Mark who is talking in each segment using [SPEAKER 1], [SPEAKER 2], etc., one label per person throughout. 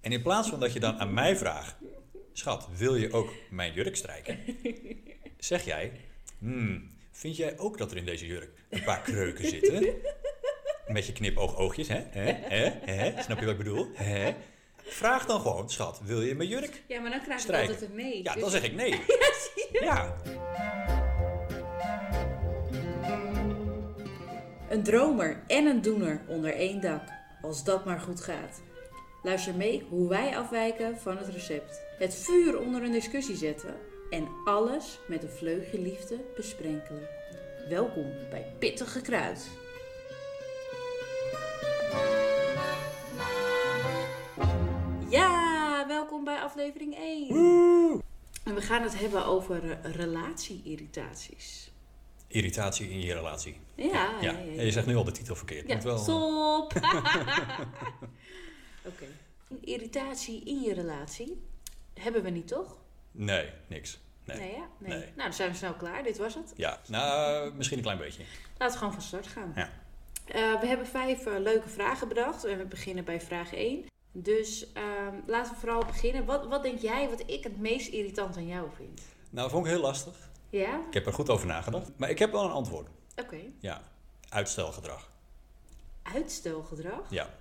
[SPEAKER 1] En in plaats van dat je dan aan mij vraagt, schat, wil je ook mijn jurk strijken? Zeg jij, hmm, vind jij ook dat er in deze jurk een paar kreuken zitten? Met je knipoog-oogjes, hè? hè? hè? hè? Snap je wat ik bedoel? Hè? Vraag dan gewoon, schat, wil je mijn jurk?
[SPEAKER 2] Ja, maar dan krijg ik
[SPEAKER 1] Strijken.
[SPEAKER 2] altijd het mee.
[SPEAKER 1] Ja,
[SPEAKER 2] Dus-
[SPEAKER 1] dan zeg ik nee.
[SPEAKER 2] Ja, zie je?
[SPEAKER 1] Ja,
[SPEAKER 2] Een dromer en een doener onder één dak. Als dat maar goed gaat. Luister mee hoe wij afwijken van het recept. Het vuur onder een discussie zetten. En alles met een vleugje liefde besprenkelen. Welkom bij Pittige Kruid. Ja, welkom bij aflevering 1. En we gaan het hebben over eh, relatie-irritaties.
[SPEAKER 1] irritatie in je relatie.
[SPEAKER 2] Ja,
[SPEAKER 1] Ja,
[SPEAKER 2] ja, ja,
[SPEAKER 1] en je zegt nu al de titel verkeerd.
[SPEAKER 2] ja,
[SPEAKER 1] Moet wel... eh,
[SPEAKER 2] stop! Oké. Een Irritatie in je relatie hebben we niet, toch?
[SPEAKER 1] Nee, niks. Nee.
[SPEAKER 2] ja? nee.
[SPEAKER 1] Nee.
[SPEAKER 2] Nou, dan zijn we snel klaar. Dit was het.
[SPEAKER 1] Ja, nou, misschien een klein beetje.
[SPEAKER 2] Laten we gewoon van start gaan.
[SPEAKER 1] Ja.
[SPEAKER 2] Eh, we hebben vijf eh, leuke vragen bedacht. En we beginnen bij vraag 1. Dus ehm, laten we vooral beginnen. Wat, wat denk jij wat ik het meest irritant aan jou vind?
[SPEAKER 1] Nou, vond ik heel lastig.
[SPEAKER 2] Ja?
[SPEAKER 1] Ik heb er goed over nagedacht. Maar ik heb wel een antwoord.
[SPEAKER 2] Oké.
[SPEAKER 1] Ja, uitstelgedrag.
[SPEAKER 2] Uitstelgedrag?
[SPEAKER 1] Ja,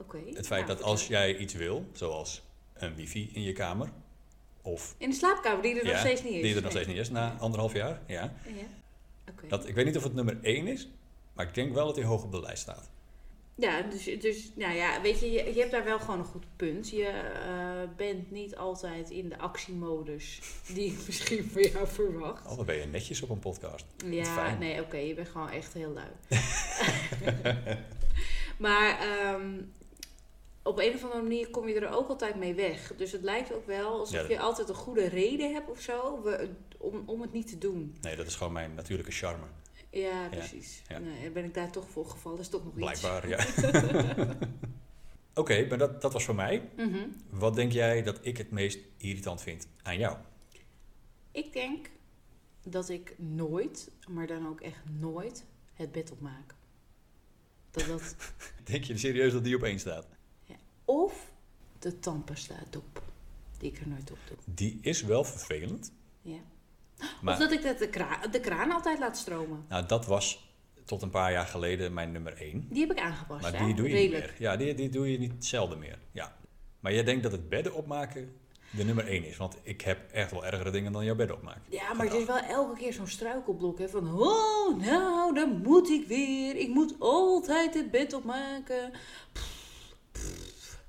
[SPEAKER 2] Oké.
[SPEAKER 1] het feit
[SPEAKER 2] Nou,
[SPEAKER 1] dat als jij iets wil, zoals een wifi in je kamer, of...
[SPEAKER 2] In de slaapkamer, die er nog
[SPEAKER 1] Ja,
[SPEAKER 2] steeds niet is.
[SPEAKER 1] Die er nog
[SPEAKER 2] Nee.
[SPEAKER 1] steeds niet is, na anderhalf jaar. Ja.
[SPEAKER 2] Ja. Oké.
[SPEAKER 1] Dat, ik weet niet of het nummer één is, maar ik denk wel dat hij hoog op de lijst staat.
[SPEAKER 2] Ja, dus, dus nou ja, weet je, je, je hebt daar wel gewoon een goed punt. Je eh, bent niet altijd in de actiemodus die ik misschien van jou verwacht.
[SPEAKER 1] Oh, dan ben je netjes op een podcast.
[SPEAKER 2] ja,
[SPEAKER 1] fijn.
[SPEAKER 2] nee, oké, je bent gewoon echt heel lui. maar ehm, op een of andere manier kom je er ook altijd mee weg. Dus het lijkt ook wel alsof
[SPEAKER 1] Ja, dat-
[SPEAKER 2] je altijd een goede reden hebt of zo we- om, om het niet te doen.
[SPEAKER 1] Nee, dat is gewoon mijn natuurlijke charme.
[SPEAKER 2] Ja, precies.
[SPEAKER 1] ja.
[SPEAKER 2] Nee, ben ik daar toch voor gevallen? Dat is toch nog iets.
[SPEAKER 1] Blijkbaar, ja. Oké, maar dat, dat was voor mij.
[SPEAKER 2] Mhm.
[SPEAKER 1] Wat denk jij dat ik het meest irritant vind aan jou?
[SPEAKER 2] Ik denk dat ik nooit, maar dan ook echt nooit, het bed opmaak. Dat dat...
[SPEAKER 1] Denk je serieus dat die op één staat?
[SPEAKER 2] Of de tandpasta dop, die ik er nooit op doe.
[SPEAKER 1] Die is wel vervelend.
[SPEAKER 2] Ja.
[SPEAKER 1] Maar
[SPEAKER 2] Of dat ik dat de, kraan, de kraan altijd laat stromen.
[SPEAKER 1] nou, dat was tot een paar jaar geleden mijn nummer één.
[SPEAKER 2] Die heb ik aangepast.
[SPEAKER 1] Maar
[SPEAKER 2] ja.
[SPEAKER 1] die doe je
[SPEAKER 2] Redelijk.
[SPEAKER 1] niet meer. Ja, die, die doe je niet zelden meer. Ja. Maar jij denkt dat het bedden opmaken de nummer één is. Want ik heb echt wel ergere dingen dan jouw bed opmaken.
[SPEAKER 2] Ja, maar het is
[SPEAKER 1] Gedrag.
[SPEAKER 2] wel elke keer zo'n struikelblok hè, van oh, nou, dan moet ik weer. Ik moet altijd het bed opmaken. Pff, pff.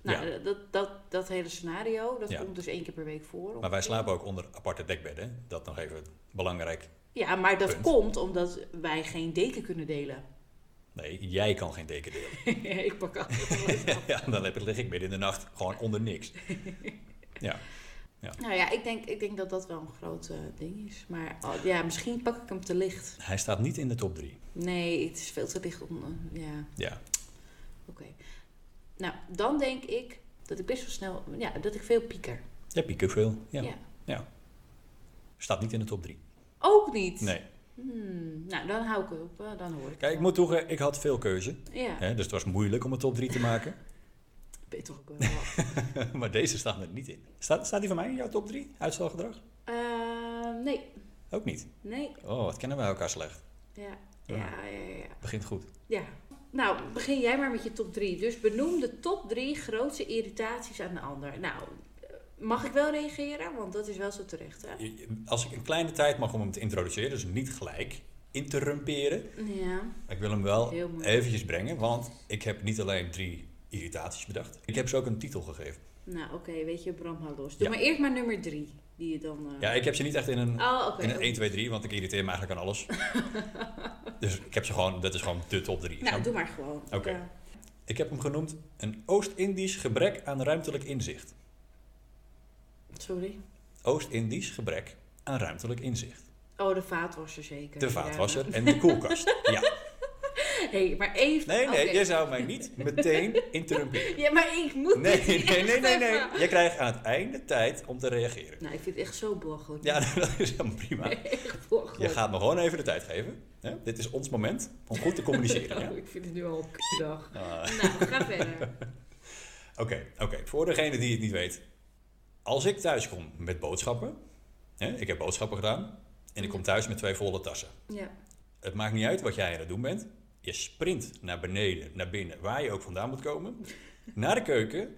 [SPEAKER 2] Nou,
[SPEAKER 1] Ja.
[SPEAKER 2] dat, dat, dat hele scenario, dat
[SPEAKER 1] Ja.
[SPEAKER 2] komt dus één keer per week voor.
[SPEAKER 1] Maar wij
[SPEAKER 2] ongeveer.
[SPEAKER 1] slapen ook onder aparte dekbedden. hè. Dat nog even belangrijk.
[SPEAKER 2] Ja, maar dat
[SPEAKER 1] Punt.
[SPEAKER 2] komt omdat wij geen deken kunnen delen.
[SPEAKER 1] Nee, jij kan geen deken delen.
[SPEAKER 2] ik pak altijd. wel.
[SPEAKER 1] ja, dan heb ik- lig ik midden in de nacht gewoon onder niks. Ja.
[SPEAKER 2] nou ja, ik denk, ik denk dat dat wel een groot eh, ding is. Maar oh, ja, misschien pak ik hem te licht.
[SPEAKER 1] Hij staat niet in de top drie.
[SPEAKER 2] Nee, het is veel te licht om. eh, ja,
[SPEAKER 1] Ja.
[SPEAKER 2] oké. Nou, dan denk ik dat ik best wel snel. Ja, dat ik veel pieker.
[SPEAKER 1] Ja, piek ik veel. Ja.
[SPEAKER 2] Ja.
[SPEAKER 1] Staat niet in de top drie.
[SPEAKER 2] Ook niet.
[SPEAKER 1] Nee.
[SPEAKER 2] Hmm, nou, dan hou ik op. eh, dan hoor ik.
[SPEAKER 1] Kijk, ik moet toegeven, ik had veel keuze.
[SPEAKER 2] Ja,
[SPEAKER 1] Hè, dus het was moeilijk om een top 3 te maken.
[SPEAKER 2] ben je toch ook wel.
[SPEAKER 1] maar deze staan er niet in. Staat, staat die van mij in jouw top 3? Uitstelgedrag?
[SPEAKER 2] Eh, nee,
[SPEAKER 1] Ook niet.
[SPEAKER 2] nee.
[SPEAKER 1] Oh, wat kennen wij elkaar slecht.
[SPEAKER 2] Ja, ja, ja, ja. ja.
[SPEAKER 1] Begint goed.
[SPEAKER 2] Ja. Nou, begin jij maar met je top 3. Dus benoem de top 3 grootste irritaties aan de ander. Nou, eh, mag ik wel reageren? Want dat is wel zo terecht, hè?
[SPEAKER 1] Je- je- Als ik een kleine tijd mag om hem te introduceren, dus niet gelijk interrumperen.
[SPEAKER 2] Ja.
[SPEAKER 1] Ik wil hem wel
[SPEAKER 2] Heel mooi.
[SPEAKER 1] eventjes brengen, want ik heb niet alleen drie irritaties bedacht. Ik heb ze ook een titel gegeven.
[SPEAKER 2] Nou, oké, weet je, Bram, hou los. Doe
[SPEAKER 1] Ja.
[SPEAKER 2] maar eerst maar nummer 3, die je dan... eh,
[SPEAKER 1] Ja, ik heb ze niet echt in een,
[SPEAKER 2] Oh, oké.
[SPEAKER 1] in een 1, 2, 3, want ik irriteer me eigenlijk aan alles. dus ik heb ze gewoon, dat is gewoon de top 3.
[SPEAKER 2] Nou, doe maar gewoon.
[SPEAKER 1] Oké.
[SPEAKER 2] Ja.
[SPEAKER 1] Ik heb hem genoemd een Oost-Indisch gebrek aan ruimtelijk inzicht.
[SPEAKER 2] Sorry.
[SPEAKER 1] Oost-Indisch gebrek aan ruimtelijk inzicht.
[SPEAKER 2] Oh, de vaatwasser zeker.
[SPEAKER 1] De
[SPEAKER 2] Ja.
[SPEAKER 1] vaatwasser en de koelkast. Ja.
[SPEAKER 2] hey, maar even...
[SPEAKER 1] Nee, nee,
[SPEAKER 2] oké.
[SPEAKER 1] jij zou mij niet meteen interrumperen.
[SPEAKER 2] Ja, maar ik moet
[SPEAKER 1] Nee,
[SPEAKER 2] dit
[SPEAKER 1] nee, nee, nee,
[SPEAKER 2] echt
[SPEAKER 1] nee.
[SPEAKER 2] even-
[SPEAKER 1] Jij krijgt aan het einde tijd om te reageren.
[SPEAKER 2] Nou, ik vind het echt zo belachelijk.
[SPEAKER 1] Ja, dat is helemaal prima.
[SPEAKER 2] Echt belachelijk.
[SPEAKER 1] Je gaat me gewoon even de tijd geven. hè? Dit is ons moment om goed te communiceren.
[SPEAKER 2] Oh,
[SPEAKER 1] Ja?
[SPEAKER 2] ik vind het nu al een dag.
[SPEAKER 1] Ah.
[SPEAKER 2] Nou, ga verder.
[SPEAKER 1] Oké, oké. Voor degene die het niet weet. Als ik thuis kom met boodschappen. Hè, ik heb boodschappen gedaan. En ik kom thuis met twee volle tassen.
[SPEAKER 2] Ja.
[SPEAKER 1] Het maakt niet uit wat jij aan het doen bent. Je sprint naar beneden, naar binnen, waar je ook vandaan moet komen. Naar de keuken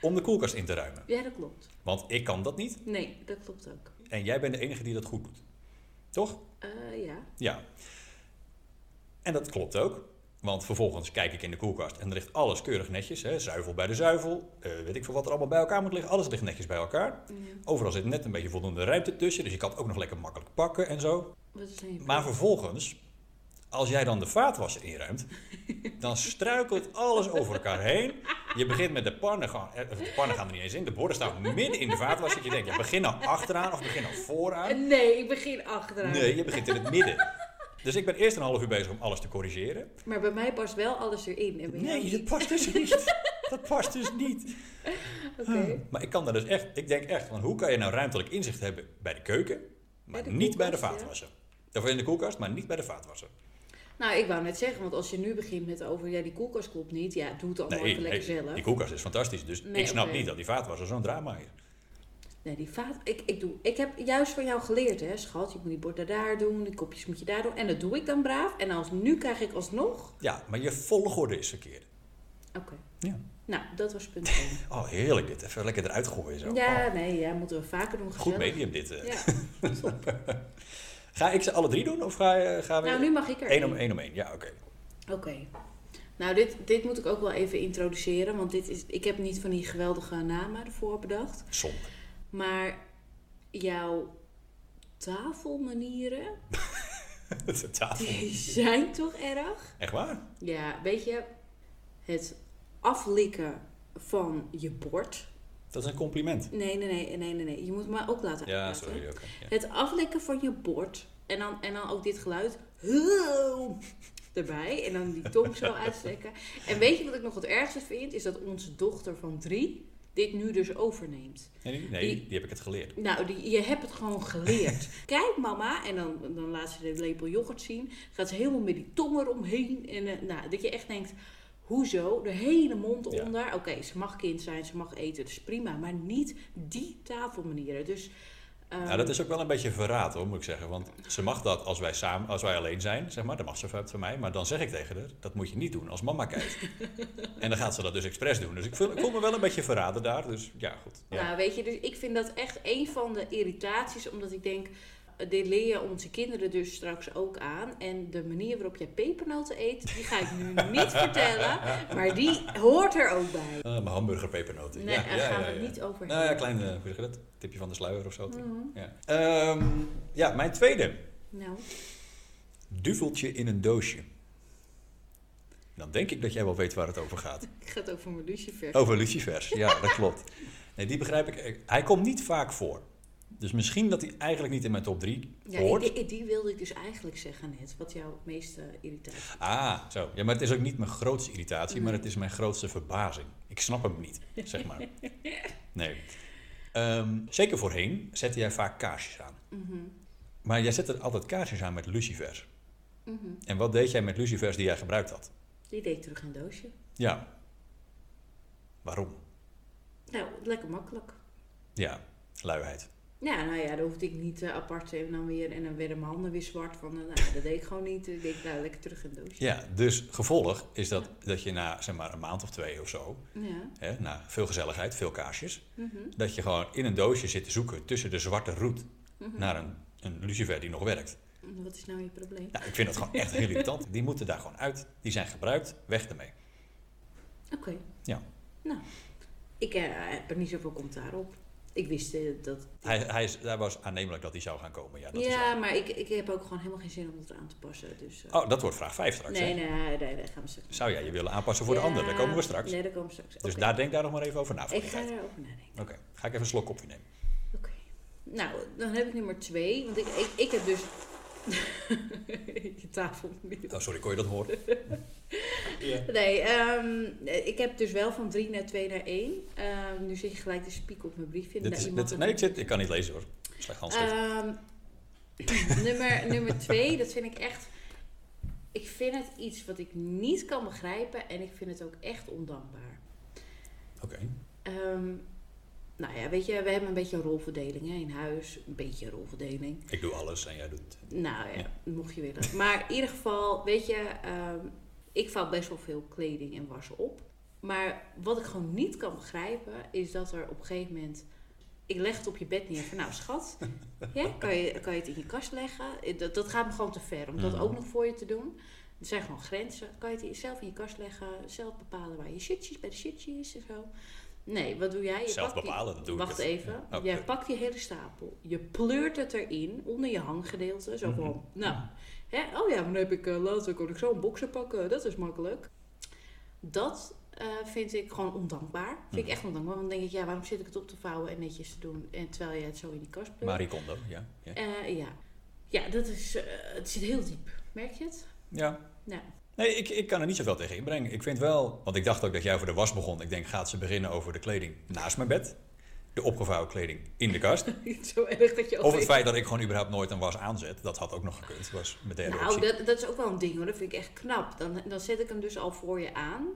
[SPEAKER 1] om de koelkast in te ruimen.
[SPEAKER 2] ja, dat klopt.
[SPEAKER 1] Want ik kan dat niet.
[SPEAKER 2] Nee, dat klopt ook.
[SPEAKER 1] En jij bent de enige die dat goed doet. Toch?
[SPEAKER 2] Eh, ja.
[SPEAKER 1] Ja. En dat klopt ook. Want vervolgens kijk ik in de koelkast en er ligt alles keurig netjes. Hè? Zuivel bij de zuivel. eh, weet ik veel wat er allemaal bij elkaar moet liggen. Alles ligt netjes bij elkaar.
[SPEAKER 2] ja.
[SPEAKER 1] Overal zit net een beetje voldoende ruimte tussen. Dus je kan het ook nog lekker makkelijk pakken en zo.
[SPEAKER 2] Wat is een
[SPEAKER 1] Maar vervolgens, als jij dan de vaatwasser inruimt, dan struikelt alles over elkaar heen. Je begint met de pannen gaan. eh, De pannen gaan er niet eens in. De borden staan midden in de vaatwasser. Je denkt, ja, begin nou achteraan of begin nou vooraan.
[SPEAKER 2] Eh, Nee, ik begin achteraan.
[SPEAKER 1] Nee, je begint in het midden. Dus ik ben eerst een half uur bezig om alles te corrigeren.
[SPEAKER 2] Maar bij mij past wel alles erin. En bij jou
[SPEAKER 1] Nee, dat
[SPEAKER 2] niet.
[SPEAKER 1] past dus niet. Dat past dus niet.
[SPEAKER 2] Oké.
[SPEAKER 1] Maar ik kan daar dus echt, ik denk echt, van hoe kan je nou ruimtelijk inzicht hebben bij de keuken, maar
[SPEAKER 2] Bij de
[SPEAKER 1] niet bij de
[SPEAKER 2] koelkast, ja.
[SPEAKER 1] vaatwasser? Of in de koelkast, maar niet bij de vaatwasser.
[SPEAKER 2] Nou, ik wou net zeggen, want als je nu begint met over, ja, die koelkast klopt niet. Ja, doe het allemaal even lekker zelf.
[SPEAKER 1] die koelkast is fantastisch. Dus
[SPEAKER 2] Nee,
[SPEAKER 1] ik snap
[SPEAKER 2] oké.
[SPEAKER 1] niet dat die vaatwasser zo'n drama is.
[SPEAKER 2] Nee, die vaat. Ik, ik, doe, ik heb juist van jou geleerd, hè, schat. Je moet die borden daar doen, die kopjes moet je daar doen. En dat doe ik dan braaf. En als nu krijg ik alsnog.
[SPEAKER 1] Ja, maar je volgorde is verkeerd.
[SPEAKER 2] Oké.
[SPEAKER 1] Ja.
[SPEAKER 2] Nou, dat was punt 1.
[SPEAKER 1] Oh, heerlijk dit. Even lekker eruit gooien zo. Oh,
[SPEAKER 2] Ja, nee, ja, moeten we vaker doen.
[SPEAKER 1] goed
[SPEAKER 2] Gezellig.
[SPEAKER 1] medium dit. eh.
[SPEAKER 2] Ja.
[SPEAKER 1] Ga ik ze alle drie doen of ga, je- gaan we...
[SPEAKER 2] Nou, nu mag ik er.
[SPEAKER 1] Eén om
[SPEAKER 2] één.
[SPEAKER 1] één om één. Ja, oké.
[SPEAKER 2] Oké. Nou, dit, dit moet ik ook wel even introduceren. Want dit is, ik heb niet van die geweldige namen ervoor bedacht.
[SPEAKER 1] Zonde.
[SPEAKER 2] Maar jouw tafelmanieren,
[SPEAKER 1] De tafel.
[SPEAKER 2] die zijn toch erg?
[SPEAKER 1] Echt waar?
[SPEAKER 2] Ja, weet je, het aflikken van je bord.
[SPEAKER 1] Dat is een compliment.
[SPEAKER 2] Nee, nee, nee, nee, nee. nee. Je moet me ook laten
[SPEAKER 1] Ja,
[SPEAKER 2] uitpraten.
[SPEAKER 1] sorry. oké. Ja.
[SPEAKER 2] Het aflikken van je bord. En dan, en dan ook dit geluid. Huuuw, Erbij. En dan die tong zo uitstrekken. En weet je wat ik nog het ergste vind? Is dat onze dochter van drie dit nu dus overneemt.
[SPEAKER 1] Nee, die- nee, die, heb ik het geleerd.
[SPEAKER 2] Nou, die, je hebt het gewoon geleerd. Kijk mama. En dan, dan laat ze de lepel yoghurt zien. Gaat ze helemaal met die tong eromheen. En eh, nou, dat je echt denkt... Hoezo? De hele mond
[SPEAKER 1] Ja.
[SPEAKER 2] onder. Oké, ze mag kind zijn, ze mag eten, dat is prima. Maar niet die tafelmanieren. Dus, ehm,
[SPEAKER 1] Nou, dat is ook wel een beetje verraad hoor, moet ik zeggen. Want ze mag dat als wij, samen, als wij alleen zijn, zeg maar. Dan mag ze van van mij. Maar dan zeg ik tegen haar, dat moet je niet doen als mama kijkt. en dan gaat ze dat dus expres doen. Dus ik voel, ik voel me wel een beetje verraden daar. Dus ja, goed. Ja.
[SPEAKER 2] Nou, weet je, dus ik vind dat echt een van de irritaties, omdat ik denk, eh, dit leer je onze kinderen dus straks ook aan. En de manier waarop jij pepernoten eet, die ga ik nu niet vertellen, maar die hoort er ook bij.
[SPEAKER 1] Ah, mijn hamburgerpepernoten.
[SPEAKER 2] Nee,
[SPEAKER 1] ja,
[SPEAKER 2] daar
[SPEAKER 1] ja,
[SPEAKER 2] gaan
[SPEAKER 1] ja,
[SPEAKER 2] we het
[SPEAKER 1] ja.
[SPEAKER 2] niet over
[SPEAKER 1] Nou ja,
[SPEAKER 2] hebben. Mhm.
[SPEAKER 1] klein, eh, hoe zeg je dat? Tipje van de sluier of zo. Ja. Ehm, ja, mijn tweede.
[SPEAKER 2] Nou,
[SPEAKER 1] Duveltje in een doosje. Dan denk ik dat jij wel weet waar het over gaat.
[SPEAKER 2] ik ga het over mijn lucifers.
[SPEAKER 1] Over lucifers, ja, dat klopt. Nee, die begrijp ik. Hij komt niet vaak voor. Dus misschien dat hij eigenlijk niet in mijn top 3
[SPEAKER 2] ja,
[SPEAKER 1] hoort.
[SPEAKER 2] die, die wilde ik dus eigenlijk zeggen net, wat jouw meeste irritatie
[SPEAKER 1] Ah, zo. Ja, maar het is ook niet mijn grootste irritatie, maar het is mijn grootste verbazing. Ik snap hem niet, zeg maar. Nee. Ehm, zeker voorheen zette jij vaak kaarsjes aan.
[SPEAKER 2] Mhm.
[SPEAKER 1] Maar jij zette altijd kaarsjes aan met lucifers. En wat deed jij met lucifers die jij gebruikt had?
[SPEAKER 2] Die deed ik terug in een doosje.
[SPEAKER 1] Ja. Waarom?
[SPEAKER 2] Nou, lekker makkelijk.
[SPEAKER 1] Ja, luiheid.
[SPEAKER 2] Ja, nou ja, dan hoefde ik niet eh, apart en dan weer, en dan werden mijn handen weer zwart van, eh, nou, dat deed ik gewoon niet. Ik deed nou, lekker terug in een doosje.
[SPEAKER 1] Ja, dus gevolg is dat, dat je na zeg maar, een maand of twee of zo,
[SPEAKER 2] Ja.
[SPEAKER 1] hè, na veel gezelligheid, veel kaarsjes,
[SPEAKER 2] Mhm.
[SPEAKER 1] dat je gewoon in een doosje zit te zoeken tussen de zwarte roet
[SPEAKER 2] Mhm.
[SPEAKER 1] naar een, een lucifer die nog werkt.
[SPEAKER 2] Wat is nou je probleem?
[SPEAKER 1] Nou, ik vind dat gewoon echt heel irritant. Die moeten daar gewoon uit. Die zijn gebruikt, weg ermee.
[SPEAKER 2] Oké.
[SPEAKER 1] Ja.
[SPEAKER 2] Nou, ik eh, heb er niet zoveel commentaar op. Ik wist eh, dat.
[SPEAKER 1] Hij, hij, is, hij was aannemelijk dat hij zou gaan komen. Ja, dat is
[SPEAKER 2] ja, maar ik, ik heb ook gewoon helemaal geen zin om het aan te passen. Dus, eh,
[SPEAKER 1] wel- Oh, dat wordt vraag 5 straks.
[SPEAKER 2] nee,
[SPEAKER 1] hè?
[SPEAKER 2] nee, nee, nee, daar gaan we straks.
[SPEAKER 1] Zou jij je willen aanpassen voor de ander? Daar komen we straks.
[SPEAKER 2] Nee, daar komen we straks.
[SPEAKER 1] Dus
[SPEAKER 2] Oké.
[SPEAKER 1] daar denk daar nog maar even over na. voor
[SPEAKER 2] Ik
[SPEAKER 1] die
[SPEAKER 2] ga
[SPEAKER 1] tijd.
[SPEAKER 2] daarover nadenken.
[SPEAKER 1] Oké, ga ik even een slok kopje nemen.
[SPEAKER 2] Oké. Nou, dan heb ik nummer twee. Want ik, ik, ik heb dus. je tafel.
[SPEAKER 1] Oh, sorry, kon je dat horen? ja.
[SPEAKER 2] Nee, ehm, ik heb dus wel van drie naar twee naar één. Ehm, nu zit je gelijk te spieken op mijn briefje.
[SPEAKER 1] Dit
[SPEAKER 2] Nou,
[SPEAKER 1] is,
[SPEAKER 2] je mag
[SPEAKER 1] dit-
[SPEAKER 2] het
[SPEAKER 1] nee,
[SPEAKER 2] niet-
[SPEAKER 1] ik, zit, ik kan niet lezen hoor. Slecht handschrift.
[SPEAKER 2] Ehm, nummer, nummer twee, dat vind ik echt. Ik vind het iets wat ik niet kan begrijpen en ik vind het ook echt ondankbaar.
[SPEAKER 1] Oké.
[SPEAKER 2] Ehm, nou ja, weet je, we hebben een beetje een rolverdeling hè, in huis. Een beetje een rolverdeling.
[SPEAKER 1] Ik doe alles en jij doet.
[SPEAKER 2] Nou ja,
[SPEAKER 1] Ja.
[SPEAKER 2] mocht je willen. Maar in ieder geval, weet je, ehm, ik vouw best wel veel kleding en was op. Maar wat ik gewoon niet kan begrijpen, is dat er op een gegeven moment... Ik leg het op je bed neer van, nou schat, hè, kan, je, kan je het in je kast leggen? Eh, Dat, dat gaat me gewoon te ver om dat
[SPEAKER 1] Mhm.
[SPEAKER 2] ook nog voor je te doen. Er zijn gewoon grenzen. Kan je het zelf in je kast leggen? Zelf bepalen waar je shitjes bij de shitjes en zo? Nee, wat doe jij? Je
[SPEAKER 1] Zelf
[SPEAKER 2] pakt die-
[SPEAKER 1] bepalen, dat doe ik.
[SPEAKER 2] Wacht
[SPEAKER 1] het.
[SPEAKER 2] even.
[SPEAKER 1] Ja, Oh, eh, oké.
[SPEAKER 2] Jij pakt die hele stapel. Je pleurt het erin, onder je hanggedeelte. Zo
[SPEAKER 1] Mhm.
[SPEAKER 2] gewoon, nou. Hè? Oh ja, dan heb ik eh, later kon ik zo een bokser pakken. Dat is makkelijk. Dat eh, vind ik gewoon ondankbaar. Vind ik
[SPEAKER 1] Mhm.
[SPEAKER 2] echt ondankbaar. Want dan denk ik, ja, waarom zit ik het op te vouwen en netjes te doen... En terwijl je het zo in die kast pleurt?
[SPEAKER 1] Marie Kondo, ja. Ja.
[SPEAKER 2] Eh, ja. ja, dat is... eh, het zit heel diep. Merk je het? Nou,
[SPEAKER 1] ja.
[SPEAKER 2] Ja.
[SPEAKER 1] Nee, ik, ik kan er niet zoveel tegen inbrengen. Ik vind wel, want ik dacht ook dat jij over de was begon. Ik denk, gaat ze beginnen over de kleding naast mijn bed? De opgevouwen kleding in de kast?
[SPEAKER 2] zo erg dat je...
[SPEAKER 1] Of het
[SPEAKER 2] alweer-
[SPEAKER 1] feit dat ik gewoon überhaupt nooit een was aanzet, dat had ook nog gekund. Was met de hele
[SPEAKER 2] Nou,
[SPEAKER 1] optie.
[SPEAKER 2] dat, dat is ook wel een ding hoor. Dat vind ik echt knap. Dan, dan zet ik hem dus al voor je aan.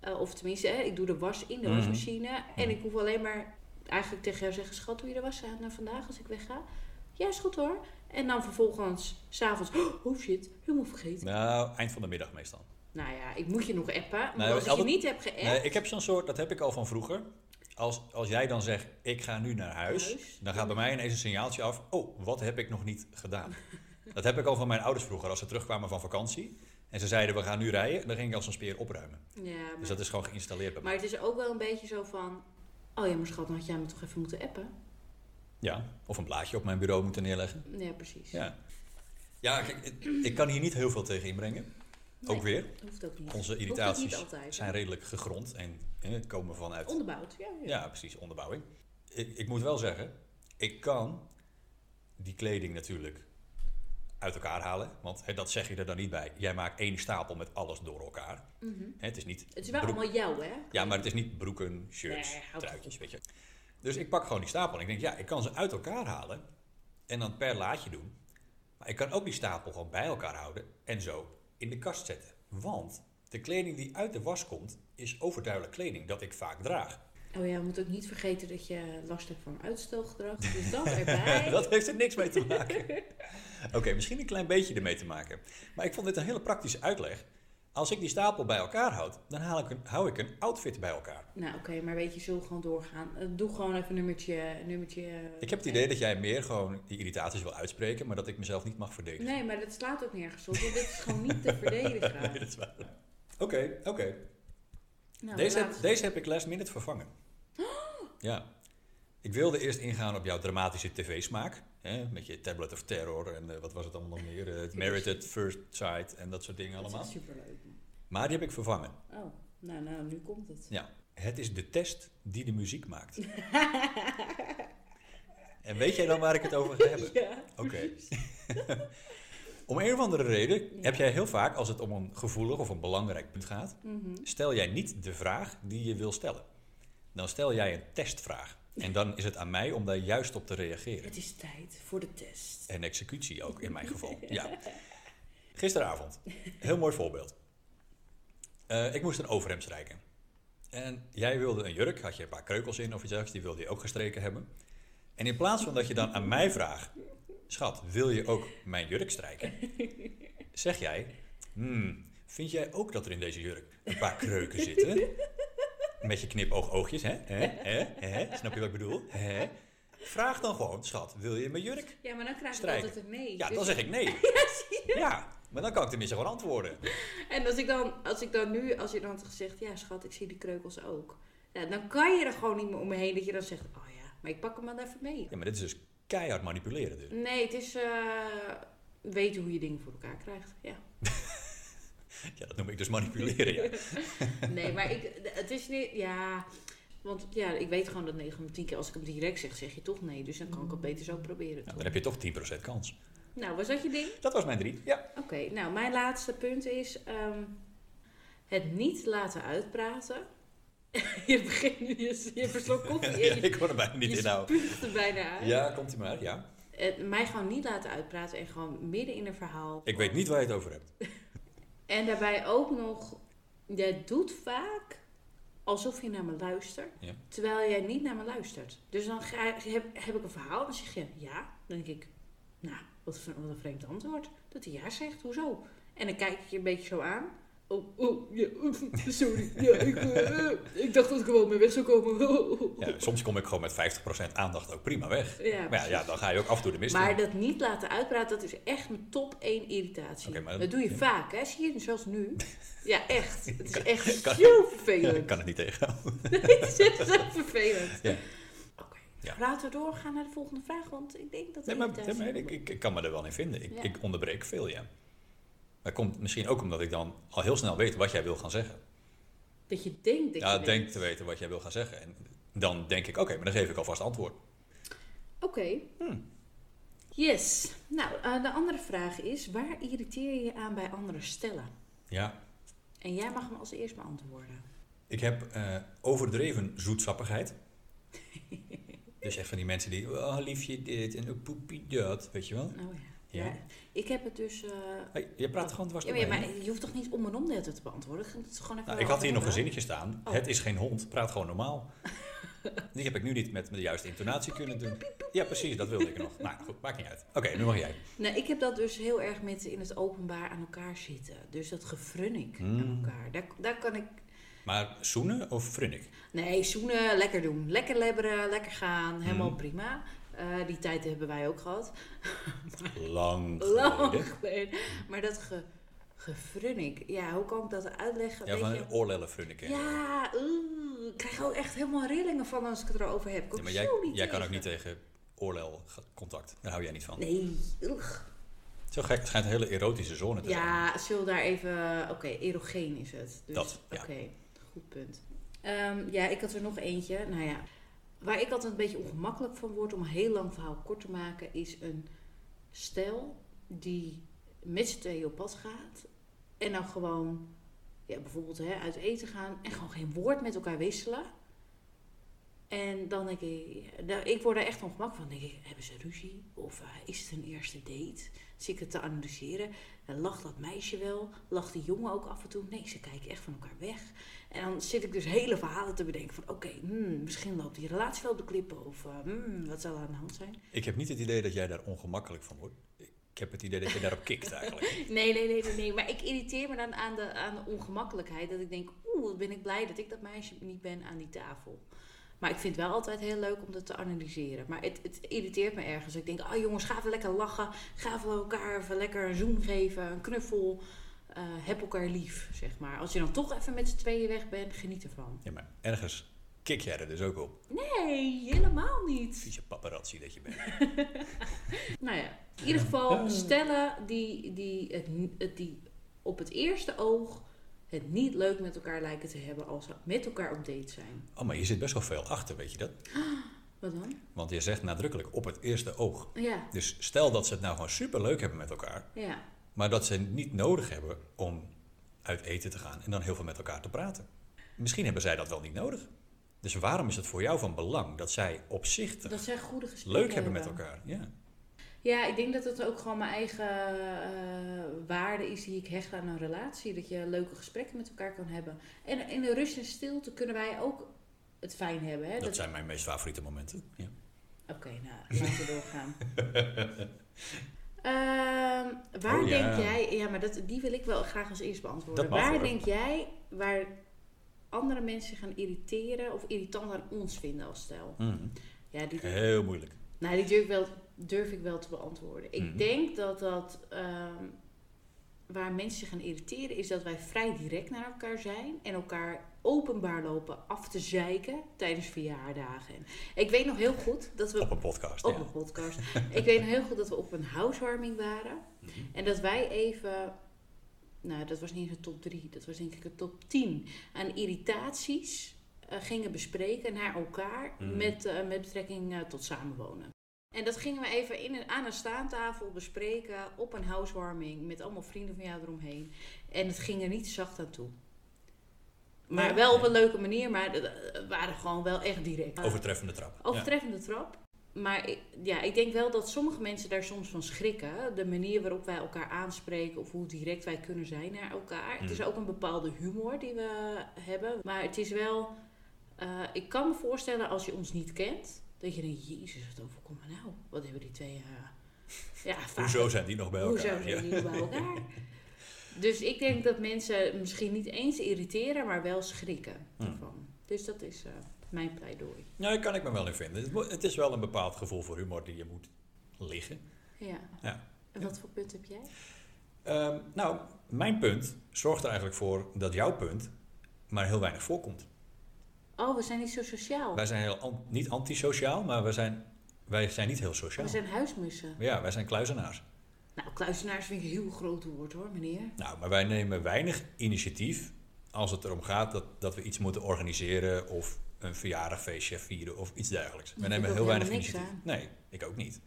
[SPEAKER 2] Eh, of tenminste, hè, ik doe de was in de
[SPEAKER 1] Mhm.
[SPEAKER 2] wasmachine. En
[SPEAKER 1] Mhm.
[SPEAKER 2] ik hoef alleen maar eigenlijk tegen jou zeggen... Schat, doe je de was aan eh, vandaag als ik wegga? Ja, is goed hoor. En dan vervolgens, s'avonds... Oh shit, helemaal vergeten.
[SPEAKER 1] Nou, eind van de middag meestal.
[SPEAKER 2] Nou ja, ik moet je nog appen. Maar
[SPEAKER 1] Nee,
[SPEAKER 2] als ik je
[SPEAKER 1] altijd-
[SPEAKER 2] niet heb geappt...
[SPEAKER 1] Nee, ik heb zo'n soort, dat heb ik al van vroeger. Als, als jij dan zegt, ik ga nu naar huis,
[SPEAKER 2] Huis.
[SPEAKER 1] dan gaat bij mij ineens een signaaltje af. Oh, wat heb ik nog niet gedaan? dat heb ik al van mijn ouders vroeger, als ze terugkwamen van vakantie. En ze zeiden, we gaan nu rijden. Dan ging ik als een speer opruimen.
[SPEAKER 2] Ja, maar,
[SPEAKER 1] Dus dat is gewoon geïnstalleerd bij mij.
[SPEAKER 2] maar het is ook wel een beetje zo van... Oh ja, maar schat, dan had jij me toch even moeten appen?
[SPEAKER 1] Ja, of een blaadje op mijn bureau moeten neerleggen.
[SPEAKER 2] Ja, precies.
[SPEAKER 1] Ja, ja kijk, ik, ik kan hier niet heel veel tegen inbrengen.
[SPEAKER 2] Nee,
[SPEAKER 1] Ook weer,
[SPEAKER 2] dat hoeft ook niet.
[SPEAKER 1] onze
[SPEAKER 2] Hoeft ook niet
[SPEAKER 1] irritaties
[SPEAKER 2] altijd, hè?
[SPEAKER 1] zijn redelijk gegrond en eh, komen vanuit
[SPEAKER 2] Onderbouwd, ja. ja.
[SPEAKER 1] Ja, precies, onderbouwing. Ik, ik moet wel zeggen, ik kan die kleding natuurlijk uit elkaar halen. Want hè, dat zeg je er dan niet bij. Jij maakt één stapel met alles door elkaar.
[SPEAKER 2] Mhm.
[SPEAKER 1] Hè, het is niet
[SPEAKER 2] Het is wel
[SPEAKER 1] broek-
[SPEAKER 2] allemaal jou, hè?
[SPEAKER 1] ja, maar het is niet broeken, shirts,
[SPEAKER 2] Nee, houd
[SPEAKER 1] truitjes, weet je. Dus ik pak gewoon die stapel en ik denk, ja, ik kan ze uit elkaar halen en dan per laadje doen. Maar ik kan ook die stapel gewoon bij elkaar houden en zo in de kast zetten. Want de kleding die uit de was komt, is overduidelijk kleding dat ik vaak draag.
[SPEAKER 2] Oh ja, we moeten ook niet vergeten dat je last hebt van uitstelgedrag. Dus dat erbij.
[SPEAKER 1] Dat heeft er niks mee te maken. Oké, misschien een klein beetje ermee te maken. Maar ik vond dit een hele praktische uitleg. Als ik die stapel bij elkaar houd, dan haal ik een, hou ik een outfit bij elkaar.
[SPEAKER 2] Nou oké, maar weet je, zullen we gewoon doorgaan. Eh, Doe gewoon even nummertje, nummertje... eh,
[SPEAKER 1] Ik heb het idee dat jij meer gewoon die irritaties wil uitspreken, maar dat ik mezelf niet mag verdedigen.
[SPEAKER 2] Nee, maar dat slaat ook nergens op. Want dit is gewoon niet te verdedigen.
[SPEAKER 1] Nee, dat is waar. Oké, oké.
[SPEAKER 2] Nou,
[SPEAKER 1] Deze, heb-
[SPEAKER 2] laatste.
[SPEAKER 1] deze heb ik last minute vervangen. Ja. Ik wilde eerst ingaan op jouw dramatische tv-smaak. Hè? Met je Tablet of Terror en eh, wat was het allemaal nog meer? Eh, Merited First Sight en dat soort dingen
[SPEAKER 2] Dat is
[SPEAKER 1] allemaal.
[SPEAKER 2] echt superleuk. man.
[SPEAKER 1] Maar die heb ik vervangen.
[SPEAKER 2] Oh, nou, nou, nu komt het.
[SPEAKER 1] Ja, het is de test die de muziek maakt. en weet jij dan waar ik het over ga hebben?
[SPEAKER 2] Ja.
[SPEAKER 1] Oké. om een of andere reden
[SPEAKER 2] Ja.
[SPEAKER 1] heb jij heel vaak, als het om een gevoelig of een belangrijk punt gaat,
[SPEAKER 2] Mhm.
[SPEAKER 1] stel jij niet de vraag die je wil stellen. Dan stel jij een testvraag. En dan is het aan mij om daar juist op te reageren.
[SPEAKER 2] Het is tijd voor de test.
[SPEAKER 1] En executie ook in mijn geval. Ja. Gisteravond. Heel mooi voorbeeld. Eh, ik moest een overhemd strijken. En jij wilde een jurk, had je een paar kreukels in of iets dergelijks, die wilde je ook gestreken hebben. En in plaats van dat je dan aan mij vraagt, schat, wil je ook mijn jurk strijken? Zeg jij, hmm, vind jij ook dat er in deze jurk een paar kreuken zitten? Met je knipoog-oogjes, hè? hè? hè? hè? Snap je wat ik bedoel? Hè? Vraag dan gewoon, schat, wil je mijn jurk
[SPEAKER 2] Ja, maar dan krijg
[SPEAKER 1] Strijken.
[SPEAKER 2] ik altijd een nee.
[SPEAKER 1] ja,
[SPEAKER 2] Dus-
[SPEAKER 1] dan zeg ik nee. Ja, maar dan kan ik tenminste gewoon antwoorden.
[SPEAKER 2] En als ik, dan, als ik dan nu, als je dan had gezegd, ja schat, ik zie die kreukels ook. Ja, dan kan je er gewoon niet meer omheen dat je dan zegt, oh ja, maar ik pak hem dan even mee.
[SPEAKER 1] Ja, maar dit is dus keihard manipuleren dus.
[SPEAKER 2] Nee, het is eh, weten hoe je dingen voor elkaar krijgt. Ja.
[SPEAKER 1] Ja, dat noem ik dus manipuleren, ja.
[SPEAKER 2] Nee, maar ik, het is niet, ja, want ja, ik weet gewoon dat 9 van 10 keer als ik hem direct zeg, zeg je toch nee. Dus dan kan ik het beter zo proberen.
[SPEAKER 1] Nou,
[SPEAKER 2] toch?
[SPEAKER 1] dan heb je toch 10% kans.
[SPEAKER 2] Nou, was dat je ding?
[SPEAKER 1] Dat was mijn drie, ja.
[SPEAKER 2] Oké, nou, mijn laatste punt is ehm, het niet laten uitpraten. je begint, nu- je, je verslokt koffie en
[SPEAKER 1] Ja,
[SPEAKER 2] je
[SPEAKER 1] ik kon er bijna niet
[SPEAKER 2] je
[SPEAKER 1] inhouden.
[SPEAKER 2] spuugt er bijna uit.
[SPEAKER 1] Ja, komt ie maar, ja.
[SPEAKER 2] Eh, mij gewoon niet laten uitpraten en gewoon midden in een verhaal.
[SPEAKER 1] Ik weet niet waar je het over hebt.
[SPEAKER 2] En daarbij ook nog, jij doet vaak alsof je naar me luistert,
[SPEAKER 1] Ja.
[SPEAKER 2] terwijl jij niet naar me luistert. Dus dan ga, heb, heb ik een verhaal en dan zeg je ja. Dan denk ik, nou, wat, voor- wat een vreemd antwoord. Dat hij ja zegt, hoezo? En dan kijk ik je een beetje zo aan. Oh, oh ja, sorry. Ja, ik, eh, eh, ik dacht dat ik gewoon mee weg zou komen.
[SPEAKER 1] Ja, soms kom ik gewoon met 50% aandacht ook prima weg.
[SPEAKER 2] Ja,
[SPEAKER 1] Maar ja, ja, dan ga je ook af en toe de mist in.
[SPEAKER 2] Maar dat niet laten uitpraten, dat is echt mijn top 1 irritatie.
[SPEAKER 1] Oké, maar dat-
[SPEAKER 2] dat doe je
[SPEAKER 1] ja.
[SPEAKER 2] vaak, hè? Zie je, zoals nu. Ja, echt. Het is echt
[SPEAKER 1] kan-
[SPEAKER 2] heel
[SPEAKER 1] Ja,
[SPEAKER 2] vervelend.
[SPEAKER 1] ik kan het niet tegenhouden.
[SPEAKER 2] Het is echt zo vervelend.
[SPEAKER 1] Ja.
[SPEAKER 2] Oké,
[SPEAKER 1] Ja.
[SPEAKER 2] laten we doorgaan naar de volgende vraag, want ik denk dat we
[SPEAKER 1] Nee, maar,
[SPEAKER 2] irritatie
[SPEAKER 1] nee, maar ik,
[SPEAKER 2] hebben.
[SPEAKER 1] ik, ik kan me er wel in vinden. Ik,
[SPEAKER 2] Ja.
[SPEAKER 1] ik onderbreek veel, ja. Dat komt misschien ook omdat ik dan al heel snel weet wat jij wil gaan zeggen.
[SPEAKER 2] Dat je denkt dat
[SPEAKER 1] Ja,
[SPEAKER 2] je
[SPEAKER 1] denk
[SPEAKER 2] weet.
[SPEAKER 1] te weten wat jij wil gaan zeggen. En dan denk ik, oké, maar dan geef ik alvast antwoord.
[SPEAKER 2] Oké.
[SPEAKER 1] Hmm.
[SPEAKER 2] Yes. Nou, eh, de andere vraag is, waar irriteer je je aan bij andere stellen?
[SPEAKER 1] Ja,
[SPEAKER 2] En jij mag hem als eerst beantwoorden.
[SPEAKER 1] ik heb eh, overdreven zoetsappigheid. dus echt van die mensen die, oh liefje dit en oh, poepie dat, weet je wel.
[SPEAKER 2] Oh ja.
[SPEAKER 1] Ja.
[SPEAKER 2] Ik heb het dus... eh,
[SPEAKER 1] Hey, je praat er gewoon dwars
[SPEAKER 2] Ja, maar,
[SPEAKER 1] doorheen.
[SPEAKER 2] ja, maar je hoeft toch niet om en om de hele tijd te beantwoorden? Het is gewoon even
[SPEAKER 1] Nou, ik had hier nog een
[SPEAKER 2] gezien.
[SPEAKER 1] zinnetje staan.
[SPEAKER 2] Oh.
[SPEAKER 1] Het is geen hond, praat gewoon normaal. Die heb ik nu niet met de juiste intonatie kunnen doen. Ja, precies, dat wilde ik nog. Nou, goed, maakt niet uit. Oké, nu mag jij.
[SPEAKER 2] Nou, ik heb dat dus heel erg met in het openbaar aan elkaar zitten. Dus dat gefrunnik
[SPEAKER 1] Hmm.
[SPEAKER 2] aan elkaar. Daar, daar kan ik...
[SPEAKER 1] Maar zoenen of frunnik?
[SPEAKER 2] Nee, zoenen, lekker doen. Lekker lebberen, lekker gaan. Helemaal
[SPEAKER 1] Hmm.
[SPEAKER 2] prima. Eh, die tijd hebben wij ook gehad.
[SPEAKER 1] Lang
[SPEAKER 2] Lang
[SPEAKER 1] geleden.
[SPEAKER 2] geleden. Maar dat ge, gefrunnik, ja, hoe kan ik dat uitleggen?
[SPEAKER 1] Ja,
[SPEAKER 2] Weet
[SPEAKER 1] van
[SPEAKER 2] je-
[SPEAKER 1] een oorlellen frunnik. hè?
[SPEAKER 2] ja oeh, ik krijg ook echt helemaal rillingen van als ik het erover heb. Ik kom
[SPEAKER 1] Ja, maar jij,
[SPEAKER 2] zo niet
[SPEAKER 1] jij kan ook
[SPEAKER 2] tegen.
[SPEAKER 1] niet tegen oorlelcontact. Daar hou jij niet van.
[SPEAKER 2] Nee, oeg.
[SPEAKER 1] Zo gek, het schijnt een hele erotische zone te zijn.
[SPEAKER 2] Ja, zullen we daar even... Oké, erogeen is het. Dus,
[SPEAKER 1] Dat, ja.
[SPEAKER 2] Oké, goed punt. Ehm, ja, ik had er nog eentje. Nou ja, waar ik altijd een beetje ongemakkelijk van word... om een heel lang verhaal kort te maken... is een stel die met z'n tweeën op pad gaat... en dan gewoon ja, bijvoorbeeld hè, uit eten gaan... en gewoon geen woord met elkaar wisselen... En dan denk ik, nou, ik word daar echt ongemakkelijk van. Dan denk ik, hebben ze ruzie? Of eh, is het een eerste date? Zit ik het te analyseren? En lacht dat meisje wel? Lacht die jongen ook af en toe? Nee, ze kijken echt van elkaar weg. En dan zit ik dus hele verhalen te bedenken van... oké, hmm, misschien loopt die relatie wel op de klippen. Of eh, hmm, wat zal er aan de hand zijn?
[SPEAKER 1] Ik heb niet het idee dat jij daar ongemakkelijk van wordt. Ik heb het idee dat je daarop kikt eigenlijk.
[SPEAKER 2] Nee, nee, nee, nee. nee. Maar ik irriteer me dan aan de, aan de ongemakkelijkheid. Dat ik denk, oeh, wat ben ik blij dat ik dat meisje niet ben aan die tafel. Maar ik vind het wel altijd heel leuk om dat te analyseren. Maar het, het irriteert me ergens. Ik denk, ah jongens, ga even lekker lachen. Ga even elkaar even lekker een zoen geven, een knuffel. Eh, heb elkaar lief, zeg maar. Als je dan toch even met z'n tweeën weg bent, geniet ervan.
[SPEAKER 1] Ja, maar ergens kik jij er dus ook op.
[SPEAKER 2] Nee, helemaal niet.
[SPEAKER 1] Vieze paparazzi dat je bent.
[SPEAKER 2] Nou ja, in ieder geval stellen die, die, het, ni- het- die op het eerste oog het niet leuk met elkaar lijken te hebben als ze met elkaar op date zijn.
[SPEAKER 1] Oh, maar hier zit best wel veel achter, weet je dat?
[SPEAKER 2] Wat dan?
[SPEAKER 1] Want je zegt nadrukkelijk op het eerste oog.
[SPEAKER 2] Ja,
[SPEAKER 1] Dus stel dat ze het nou gewoon superleuk hebben met elkaar,
[SPEAKER 2] ja.
[SPEAKER 1] maar dat ze niet nodig hebben om uit eten te gaan en dan heel veel met elkaar te praten. Misschien hebben zij dat wel niet nodig. Dus waarom is het voor jou van belang dat zij opzichtig
[SPEAKER 2] Dat zijn goede gesprekken.
[SPEAKER 1] leuk hebben met elkaar? Ja.
[SPEAKER 2] Ja, ik denk dat het ook gewoon mijn eigen eh, waarde is die ik hecht aan een relatie. Dat je leuke gesprekken met elkaar kan hebben. En in de rust en stilte kunnen wij ook het fijn hebben. Hè?
[SPEAKER 1] Dat
[SPEAKER 2] Dat-
[SPEAKER 1] zijn mijn meest favoriete momenten. Ja.
[SPEAKER 2] Oké, nou, laten we doorgaan. Ehm, waar
[SPEAKER 1] Oh, ja.
[SPEAKER 2] denk jij... Ja, maar dat, die wil ik wel graag als eerst beantwoorden.
[SPEAKER 1] Dat mag,
[SPEAKER 2] Waar
[SPEAKER 1] hoor.
[SPEAKER 2] denk jij waar andere mensen zich gaan irriteren... of irritant aan ons vinden als stel?
[SPEAKER 1] Mhm.
[SPEAKER 2] Ja, die,
[SPEAKER 1] Heel moeilijk.
[SPEAKER 2] nou, die durf, ik wel, durf ik wel te beantwoorden. Ik
[SPEAKER 1] Mhm.
[SPEAKER 2] denk dat dat... ehm, waar mensen zich gaan irriteren... is dat wij vrij direct naar elkaar zijn... en elkaar openbaar lopen af te zeiken... tijdens verjaardagen. Ik weet nog heel goed dat Oh. we
[SPEAKER 1] Op een podcast.
[SPEAKER 2] op
[SPEAKER 1] ja.
[SPEAKER 2] een podcast. ik weet nog heel goed dat we op een housewarming waren. En dat wij even. Nou, dat was niet eens een top 3. Dat was denk ik een top 10. Aan irritaties eh, gingen bespreken naar elkaar.
[SPEAKER 1] Mhm.
[SPEAKER 2] Met, eh, met betrekking eh, tot samenwonen. En dat gingen we even in een, aan een staantafel bespreken. Op een housewarming. Met allemaal vrienden van jou eromheen. En het ging er niet zacht aan toe. Maar
[SPEAKER 1] Nee.
[SPEAKER 2] wel op een leuke manier. Maar we waren eh, gewoon wel echt direct.
[SPEAKER 1] Overtreffende trap.
[SPEAKER 2] Overtreffende trap. maar ik- ja, ik denk wel dat sommige mensen daar soms van schrikken. De manier waarop wij elkaar aanspreken of hoe direct wij kunnen zijn naar elkaar. Het is
[SPEAKER 1] Mm.
[SPEAKER 2] ook een bepaalde humor die we hebben. Maar het is wel, eh, ik kan me voorstellen als je ons niet kent, dat je denkt, jezus, wat overkomt me nou? Wat hebben die twee... eh, ja, vaak
[SPEAKER 1] Hoezo zijn die nog bij
[SPEAKER 2] Hoezo
[SPEAKER 1] elkaar?
[SPEAKER 2] zijn
[SPEAKER 1] Ja.
[SPEAKER 2] die niet bij elkaar? Dus ik denk dat mensen misschien niet eens irriteren, maar wel schrikken
[SPEAKER 1] Hmm.
[SPEAKER 2] ervan. Dus dat is eh, mijn pleidooi.
[SPEAKER 1] Nou, daar kan ik me wel in vinden. Het mo- Het is wel een bepaald gevoel voor humor die je moet liggen.
[SPEAKER 2] Ja.
[SPEAKER 1] Ja.
[SPEAKER 2] En wat voor punt heb jij?
[SPEAKER 1] Ehm, nou, mijn punt zorgt er eigenlijk voor dat jouw punt maar heel weinig voorkomt.
[SPEAKER 2] Oh, we zijn niet zo sociaal.
[SPEAKER 1] Wij zijn heel an- niet antisociaal, maar wij zijn, wij zijn niet heel sociaal.
[SPEAKER 2] We zijn huismussen.
[SPEAKER 1] Ja, wij zijn kluizenaars.
[SPEAKER 2] Nou, kluizenaars vind ik een heel groot woord hoor, meneer.
[SPEAKER 1] Nou, maar wij nemen weinig initiatief als het erom gaat dat, dat we iets moeten organiseren of een verjaardagfeestje vieren of iets dergelijks. We
[SPEAKER 2] Ik
[SPEAKER 1] nemen
[SPEAKER 2] heb
[SPEAKER 1] heel
[SPEAKER 2] ook
[SPEAKER 1] weinig
[SPEAKER 2] helemaal niks
[SPEAKER 1] initiatief. Nee, ik ook niet.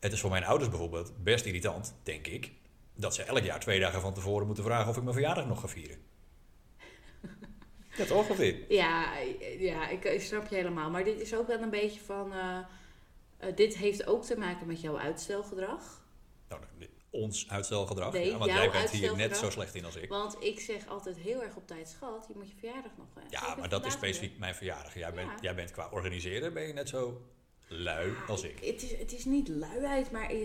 [SPEAKER 1] Het is voor mijn ouders bijvoorbeeld best irritant, denk ik, dat ze elk jaar twee dagen van tevoren moeten vragen of ik mijn verjaardag nog ga vieren. ja, toch of dit?
[SPEAKER 2] Ja, ja ik, ik snap je helemaal. Maar dit is ook wel een beetje van. eh, eh, dit heeft ook te maken met jouw uitstelgedrag.
[SPEAKER 1] Nou, ons uitstelgedrag.
[SPEAKER 2] Nee,
[SPEAKER 1] ja, want
[SPEAKER 2] jouw
[SPEAKER 1] jij bent hier net
[SPEAKER 2] uitstelgedrag.
[SPEAKER 1] zo slecht in als ik.
[SPEAKER 2] Want ik zeg altijd heel erg op tijd, schat, je moet je verjaardag nog. eh, ik
[SPEAKER 1] Ja,
[SPEAKER 2] heb
[SPEAKER 1] maar dat is
[SPEAKER 2] vandaag weer.
[SPEAKER 1] specifiek mijn verjaardag. Jij bent,
[SPEAKER 2] Ja.
[SPEAKER 1] jij bent qua organiseren ben je net zo lui als ik.
[SPEAKER 2] Het is, het is niet luiheid, maar. eh,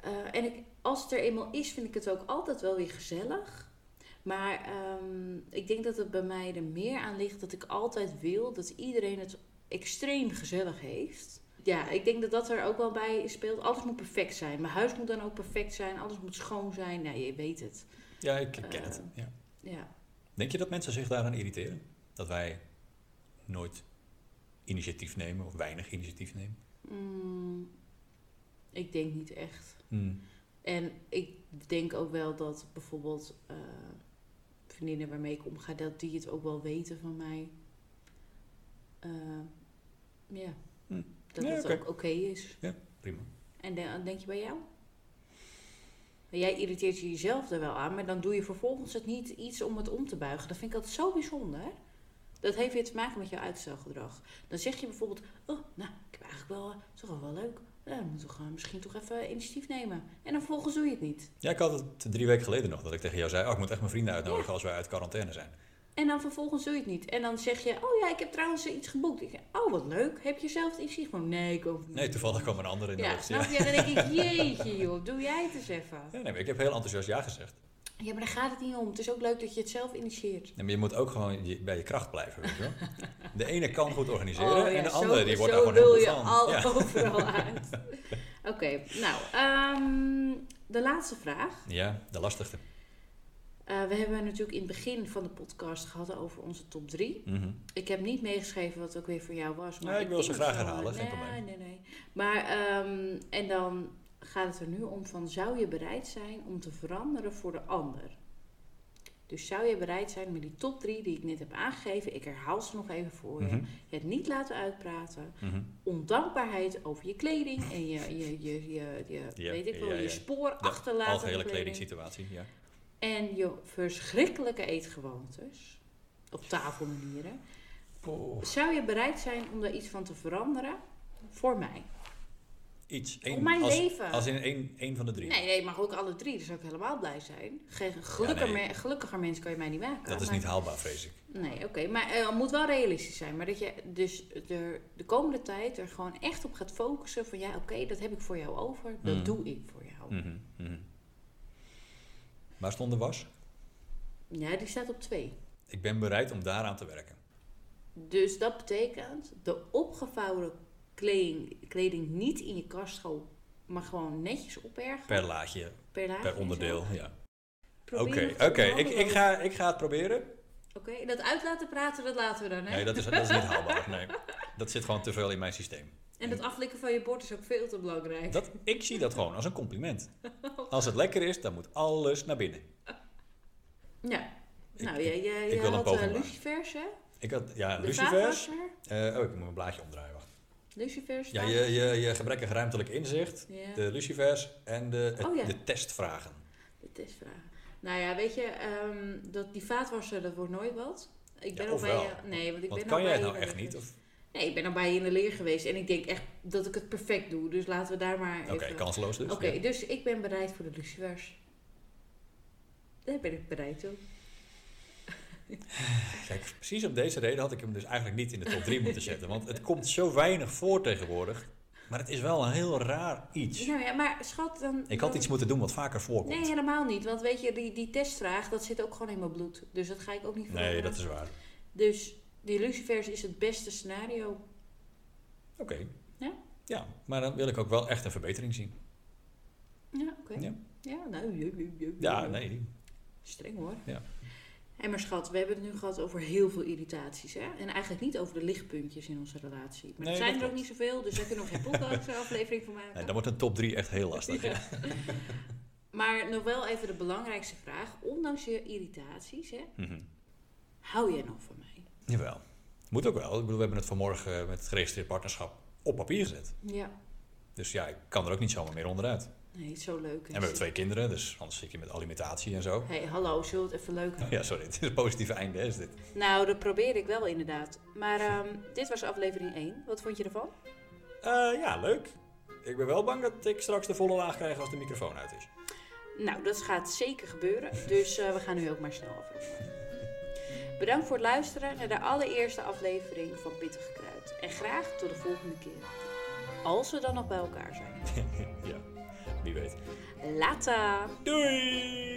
[SPEAKER 2] eh, en ik, als het er eenmaal is, vind ik het ook altijd wel weer gezellig. Maar ehm, ik denk dat het bij mij er meer aan ligt dat ik altijd wil dat iedereen het extreem gezellig heeft. Ja, ik denk dat dat er ook wel bij speelt. Alles moet perfect zijn. Mijn huis moet dan ook perfect zijn. Alles moet schoon zijn. Nou, je weet het.
[SPEAKER 1] Ja, ik ken het.
[SPEAKER 2] Eh,
[SPEAKER 1] Ja.
[SPEAKER 2] Ja.
[SPEAKER 1] Denk je dat mensen zich daaraan irriteren? Dat wij nooit initiatief nemen of weinig initiatief nemen?
[SPEAKER 2] Mm, ik denk niet echt.
[SPEAKER 1] Hmm,
[SPEAKER 2] En ik denk ook wel dat bijvoorbeeld eh, vriendinnen waarmee ik omga, dat die het ook wel weten van mij. Eh, ja,
[SPEAKER 1] Hm.
[SPEAKER 2] dat
[SPEAKER 1] Ja,
[SPEAKER 2] het
[SPEAKER 1] oké.
[SPEAKER 2] ook oké is.
[SPEAKER 1] Prima.
[SPEAKER 2] En dan denk je bij jou? Maar Jij irriteert je jezelf er wel aan, maar dan doe je vervolgens het niet iets om het om te buigen. Dat vind ik altijd zo bijzonder. Dat heeft weer te maken met jouw uitstelgedrag. Dan zeg je bijvoorbeeld, oh, nou, ik heb eigenlijk wel, eh, toch wel wel leuk. Ja, dan moeten we gewoon misschien toch even initiatief nemen. En dan vervolgens doe je het niet.
[SPEAKER 1] Ja, ik had het drie weken geleden nog dat ik tegen jou zei: oh, ik moet echt mijn vrienden uitnodigen als wij uit quarantaine zijn.
[SPEAKER 2] En dan vervolgens doe je het niet. En dan zeg je, oh ja, ik heb trouwens iets geboekt. Ik zeg, oh wat leuk. Heb je zelf het initiatief? genomen? Nee, ik ook niet.
[SPEAKER 1] Nee, toevallig kwam een ander in de
[SPEAKER 2] Ja,
[SPEAKER 1] lucht. Ja.
[SPEAKER 2] snap je? Dan denk ik, jeetje joh, doe jij het eens even.
[SPEAKER 1] Ja, nee, maar ik heb heel enthousiast ja gezegd.
[SPEAKER 2] Ja, maar daar gaat het niet om. Het is ook leuk dat je het zelf initieert.
[SPEAKER 1] Nee, maar je moet ook gewoon je- bij je kracht blijven. Weet je wel? De ene kan goed organiseren
[SPEAKER 2] Oh, ja,
[SPEAKER 1] en de
[SPEAKER 2] zo-
[SPEAKER 1] andere die wordt
[SPEAKER 2] zo
[SPEAKER 1] daar gewoon heel
[SPEAKER 2] lul
[SPEAKER 1] goed van.
[SPEAKER 2] je al
[SPEAKER 1] Ja.
[SPEAKER 2] overal uit. Oké, nou, ehm, de laatste vraag.
[SPEAKER 1] ja, de lastigste.
[SPEAKER 2] Eh, we hebben natuurlijk in het begin van de podcast gehad over onze top 3.
[SPEAKER 1] Mhm.
[SPEAKER 2] Ik heb niet meegeschreven wat ook weer voor jou was. Maar
[SPEAKER 1] Nee, ik wil ze
[SPEAKER 2] denk
[SPEAKER 1] graag
[SPEAKER 2] het wel.
[SPEAKER 1] herhalen, geen
[SPEAKER 2] nee,
[SPEAKER 1] probleem.
[SPEAKER 2] Nee, nee. Maar, ehm, en dan gaat het er nu om van, zou je bereid zijn om te veranderen voor de ander? Dus zou je bereid zijn met die top 3 die ik net heb aangegeven, ik herhaal ze nog even voor je,
[SPEAKER 1] Mhm.
[SPEAKER 2] je het niet laten uitpraten,
[SPEAKER 1] mhm.
[SPEAKER 2] ondankbaarheid over je kleding en je, je, je, je, je,
[SPEAKER 1] Ja,
[SPEAKER 2] weet ik wel,
[SPEAKER 1] ja, ja.
[SPEAKER 2] je spoor achterlaten. op
[SPEAKER 1] Algehele
[SPEAKER 2] de kleding.
[SPEAKER 1] kledingsituatie, ja.
[SPEAKER 2] En je verschrikkelijke eetgewoontes op tafelmanieren. Zou je bereid zijn om daar iets van te veranderen? Voor mij.
[SPEAKER 1] Iets.
[SPEAKER 2] Om
[SPEAKER 1] één-
[SPEAKER 2] mijn
[SPEAKER 1] als,
[SPEAKER 2] leven.
[SPEAKER 1] Als in één, één van de drie.
[SPEAKER 2] Nee, nee, maar ook alle drie. Daar zou ik helemaal blij zijn. Geen gelukkiger,
[SPEAKER 1] Ja, nee.
[SPEAKER 2] me- gelukkiger mens kan je mij niet maken.
[SPEAKER 1] Dat is
[SPEAKER 2] maar-
[SPEAKER 1] niet haalbaar, vrees ik.
[SPEAKER 2] Nee, oké. Maar eh, het moet wel realistisch zijn. Maar dat je dus er de komende tijd er gewoon echt op gaat focussen. Van ja, oké, dat heb ik voor jou over. Dat
[SPEAKER 1] Mhm.
[SPEAKER 2] doe ik voor jou.
[SPEAKER 1] Mhm, mhm. Waar stond de was?
[SPEAKER 2] Ja, die staat op twee.
[SPEAKER 1] Ik ben bereid om daaraan te werken.
[SPEAKER 2] Dus dat betekent de opgevouwen kleding, kleding niet in je kast gooien, maar gewoon netjes opbergen.
[SPEAKER 1] Per laagje,
[SPEAKER 2] per laagje en
[SPEAKER 1] per
[SPEAKER 2] zo.
[SPEAKER 1] onderdeel. Ja. Oké,
[SPEAKER 2] Probeer nog
[SPEAKER 1] oké.
[SPEAKER 2] te
[SPEAKER 1] ik,
[SPEAKER 2] veranderen.
[SPEAKER 1] ik, ga, ik ga het proberen.
[SPEAKER 2] Oké, dat uit laten praten, dat laten we dan. Hè?
[SPEAKER 1] Nee, dat is, dat is niet haalbaar. Nee. Dat zit gewoon te veel in mijn systeem.
[SPEAKER 2] En dat aflikken van je bord is ook veel te belangrijk.
[SPEAKER 1] Dat, ik zie dat gewoon als een compliment. Als het lekker is, dan moet alles naar binnen.
[SPEAKER 2] Ja.
[SPEAKER 1] Ik-
[SPEAKER 2] Nou, jij, jij,
[SPEAKER 1] ik
[SPEAKER 2] jij
[SPEAKER 1] wil een
[SPEAKER 2] had
[SPEAKER 1] poging
[SPEAKER 2] eh
[SPEAKER 1] maken.
[SPEAKER 2] lucifers, hè?
[SPEAKER 1] Ik had, ja,
[SPEAKER 2] De
[SPEAKER 1] lucifers.
[SPEAKER 2] vaatwasser.
[SPEAKER 1] Eh, oh, ik moet mijn blaadje omdraaien, wacht.
[SPEAKER 2] Lucifers.
[SPEAKER 1] Ja, je, je, je gebrekkig ruimtelijk inzicht,
[SPEAKER 2] Ja.
[SPEAKER 1] de lucifers en de, het-
[SPEAKER 2] Oh, ja.
[SPEAKER 1] de testvragen.
[SPEAKER 2] De testvraag. Nou ja, weet je, ehm, dat, die vaatwasser, dat wordt nooit wat. Ik
[SPEAKER 1] Ja,
[SPEAKER 2] ben al
[SPEAKER 1] of
[SPEAKER 2] bij
[SPEAKER 1] wel.
[SPEAKER 2] je. Nee, want ik
[SPEAKER 1] Want
[SPEAKER 2] ben
[SPEAKER 1] kan
[SPEAKER 2] al
[SPEAKER 1] jij
[SPEAKER 2] bij
[SPEAKER 1] het
[SPEAKER 2] je
[SPEAKER 1] nou echt
[SPEAKER 2] werkers.
[SPEAKER 1] niet? Of
[SPEAKER 2] Nee, ik ben al bij je in de leer geweest en ik denk echt dat ik het perfect doe. Dus laten we daar maar
[SPEAKER 1] Oké,
[SPEAKER 2] even...
[SPEAKER 1] kansloos dus.
[SPEAKER 2] Oké,
[SPEAKER 1] ja.
[SPEAKER 2] dus ik ben bereid voor de lucifers. Daar ben ik bereid toe.
[SPEAKER 1] Kijk, precies om deze reden had ik hem dus eigenlijk niet in de top 3 moeten zetten. Want het komt zo weinig voor tegenwoordig. Maar het is wel een heel raar iets.
[SPEAKER 2] Nou ja, maar schat, dan...
[SPEAKER 1] Ik had
[SPEAKER 2] dan-
[SPEAKER 1] iets moeten doen wat vaker
[SPEAKER 2] Nee,
[SPEAKER 1] voorkomt.
[SPEAKER 2] helemaal niet. Want weet je, die, die testvraag, dat zit ook gewoon in mijn bloed. Dus dat ga ik ook niet veranderen.
[SPEAKER 1] Nee, dat is waar.
[SPEAKER 2] Dus die lucifers is het beste scenario.
[SPEAKER 1] Oké.
[SPEAKER 2] Ja?
[SPEAKER 1] Ja, maar dan wil ik ook wel echt een verbetering zien.
[SPEAKER 2] Ja, oké.
[SPEAKER 1] Ja.
[SPEAKER 2] Ja. nou... ju- ju- ju-
[SPEAKER 1] Ja,
[SPEAKER 2] ju-
[SPEAKER 1] nee.
[SPEAKER 2] Streng hoor.
[SPEAKER 1] Ja.
[SPEAKER 2] Hé, maar schat, we hebben het nu gehad over heel veel irritaties. Hè? En eigenlijk niet over de lichtpuntjes in onze relatie. Maar
[SPEAKER 1] Nee,
[SPEAKER 2] er zijn
[SPEAKER 1] dat
[SPEAKER 2] er ook
[SPEAKER 1] klopt.
[SPEAKER 2] niet zoveel, dus daar kunnen we geen podcast-aflevering van maken.
[SPEAKER 1] Nee, dan wordt een top 3 echt heel lastig.
[SPEAKER 2] Ja. Maar nog wel even de belangrijkste vraag. Ondanks je irritaties, hè,
[SPEAKER 1] Mhm.
[SPEAKER 2] hou jij nog van mij?
[SPEAKER 1] Jawel. Moet ook wel. Ik bedoel, we hebben het vanmorgen eh, met het geregistreerd partnerschap op papier gezet.
[SPEAKER 2] Ja.
[SPEAKER 1] Dus ja, ik kan er ook niet zomaar meer onderuit. En
[SPEAKER 2] Nee, het is zo leuk.
[SPEAKER 1] we hebben twee kinderen, dus anders zit je met alimentatie en zo.
[SPEAKER 2] Hé, hey, hallo, zullen we het even leuk houden?
[SPEAKER 1] Ja, sorry, het is een positieve einde, hè, is dit.
[SPEAKER 2] Nou, dat probeer ik wel inderdaad. Maar ehm, dit was aflevering 1. Wat vond je ervan?
[SPEAKER 1] Eh, ja, leuk. Ik ben wel bang dat ik straks de volle laag krijg als de microfoon uit is.
[SPEAKER 2] Nou, dat gaat zeker gebeuren. Dus eh, we gaan nu ook maar snel afronden. Bedankt voor het luisteren naar de allereerste aflevering van Pittige Kruid. En graag tot de volgende keer. Als we dan nog bij elkaar zijn.
[SPEAKER 1] ja, wie weet.
[SPEAKER 2] Later!
[SPEAKER 1] Doei!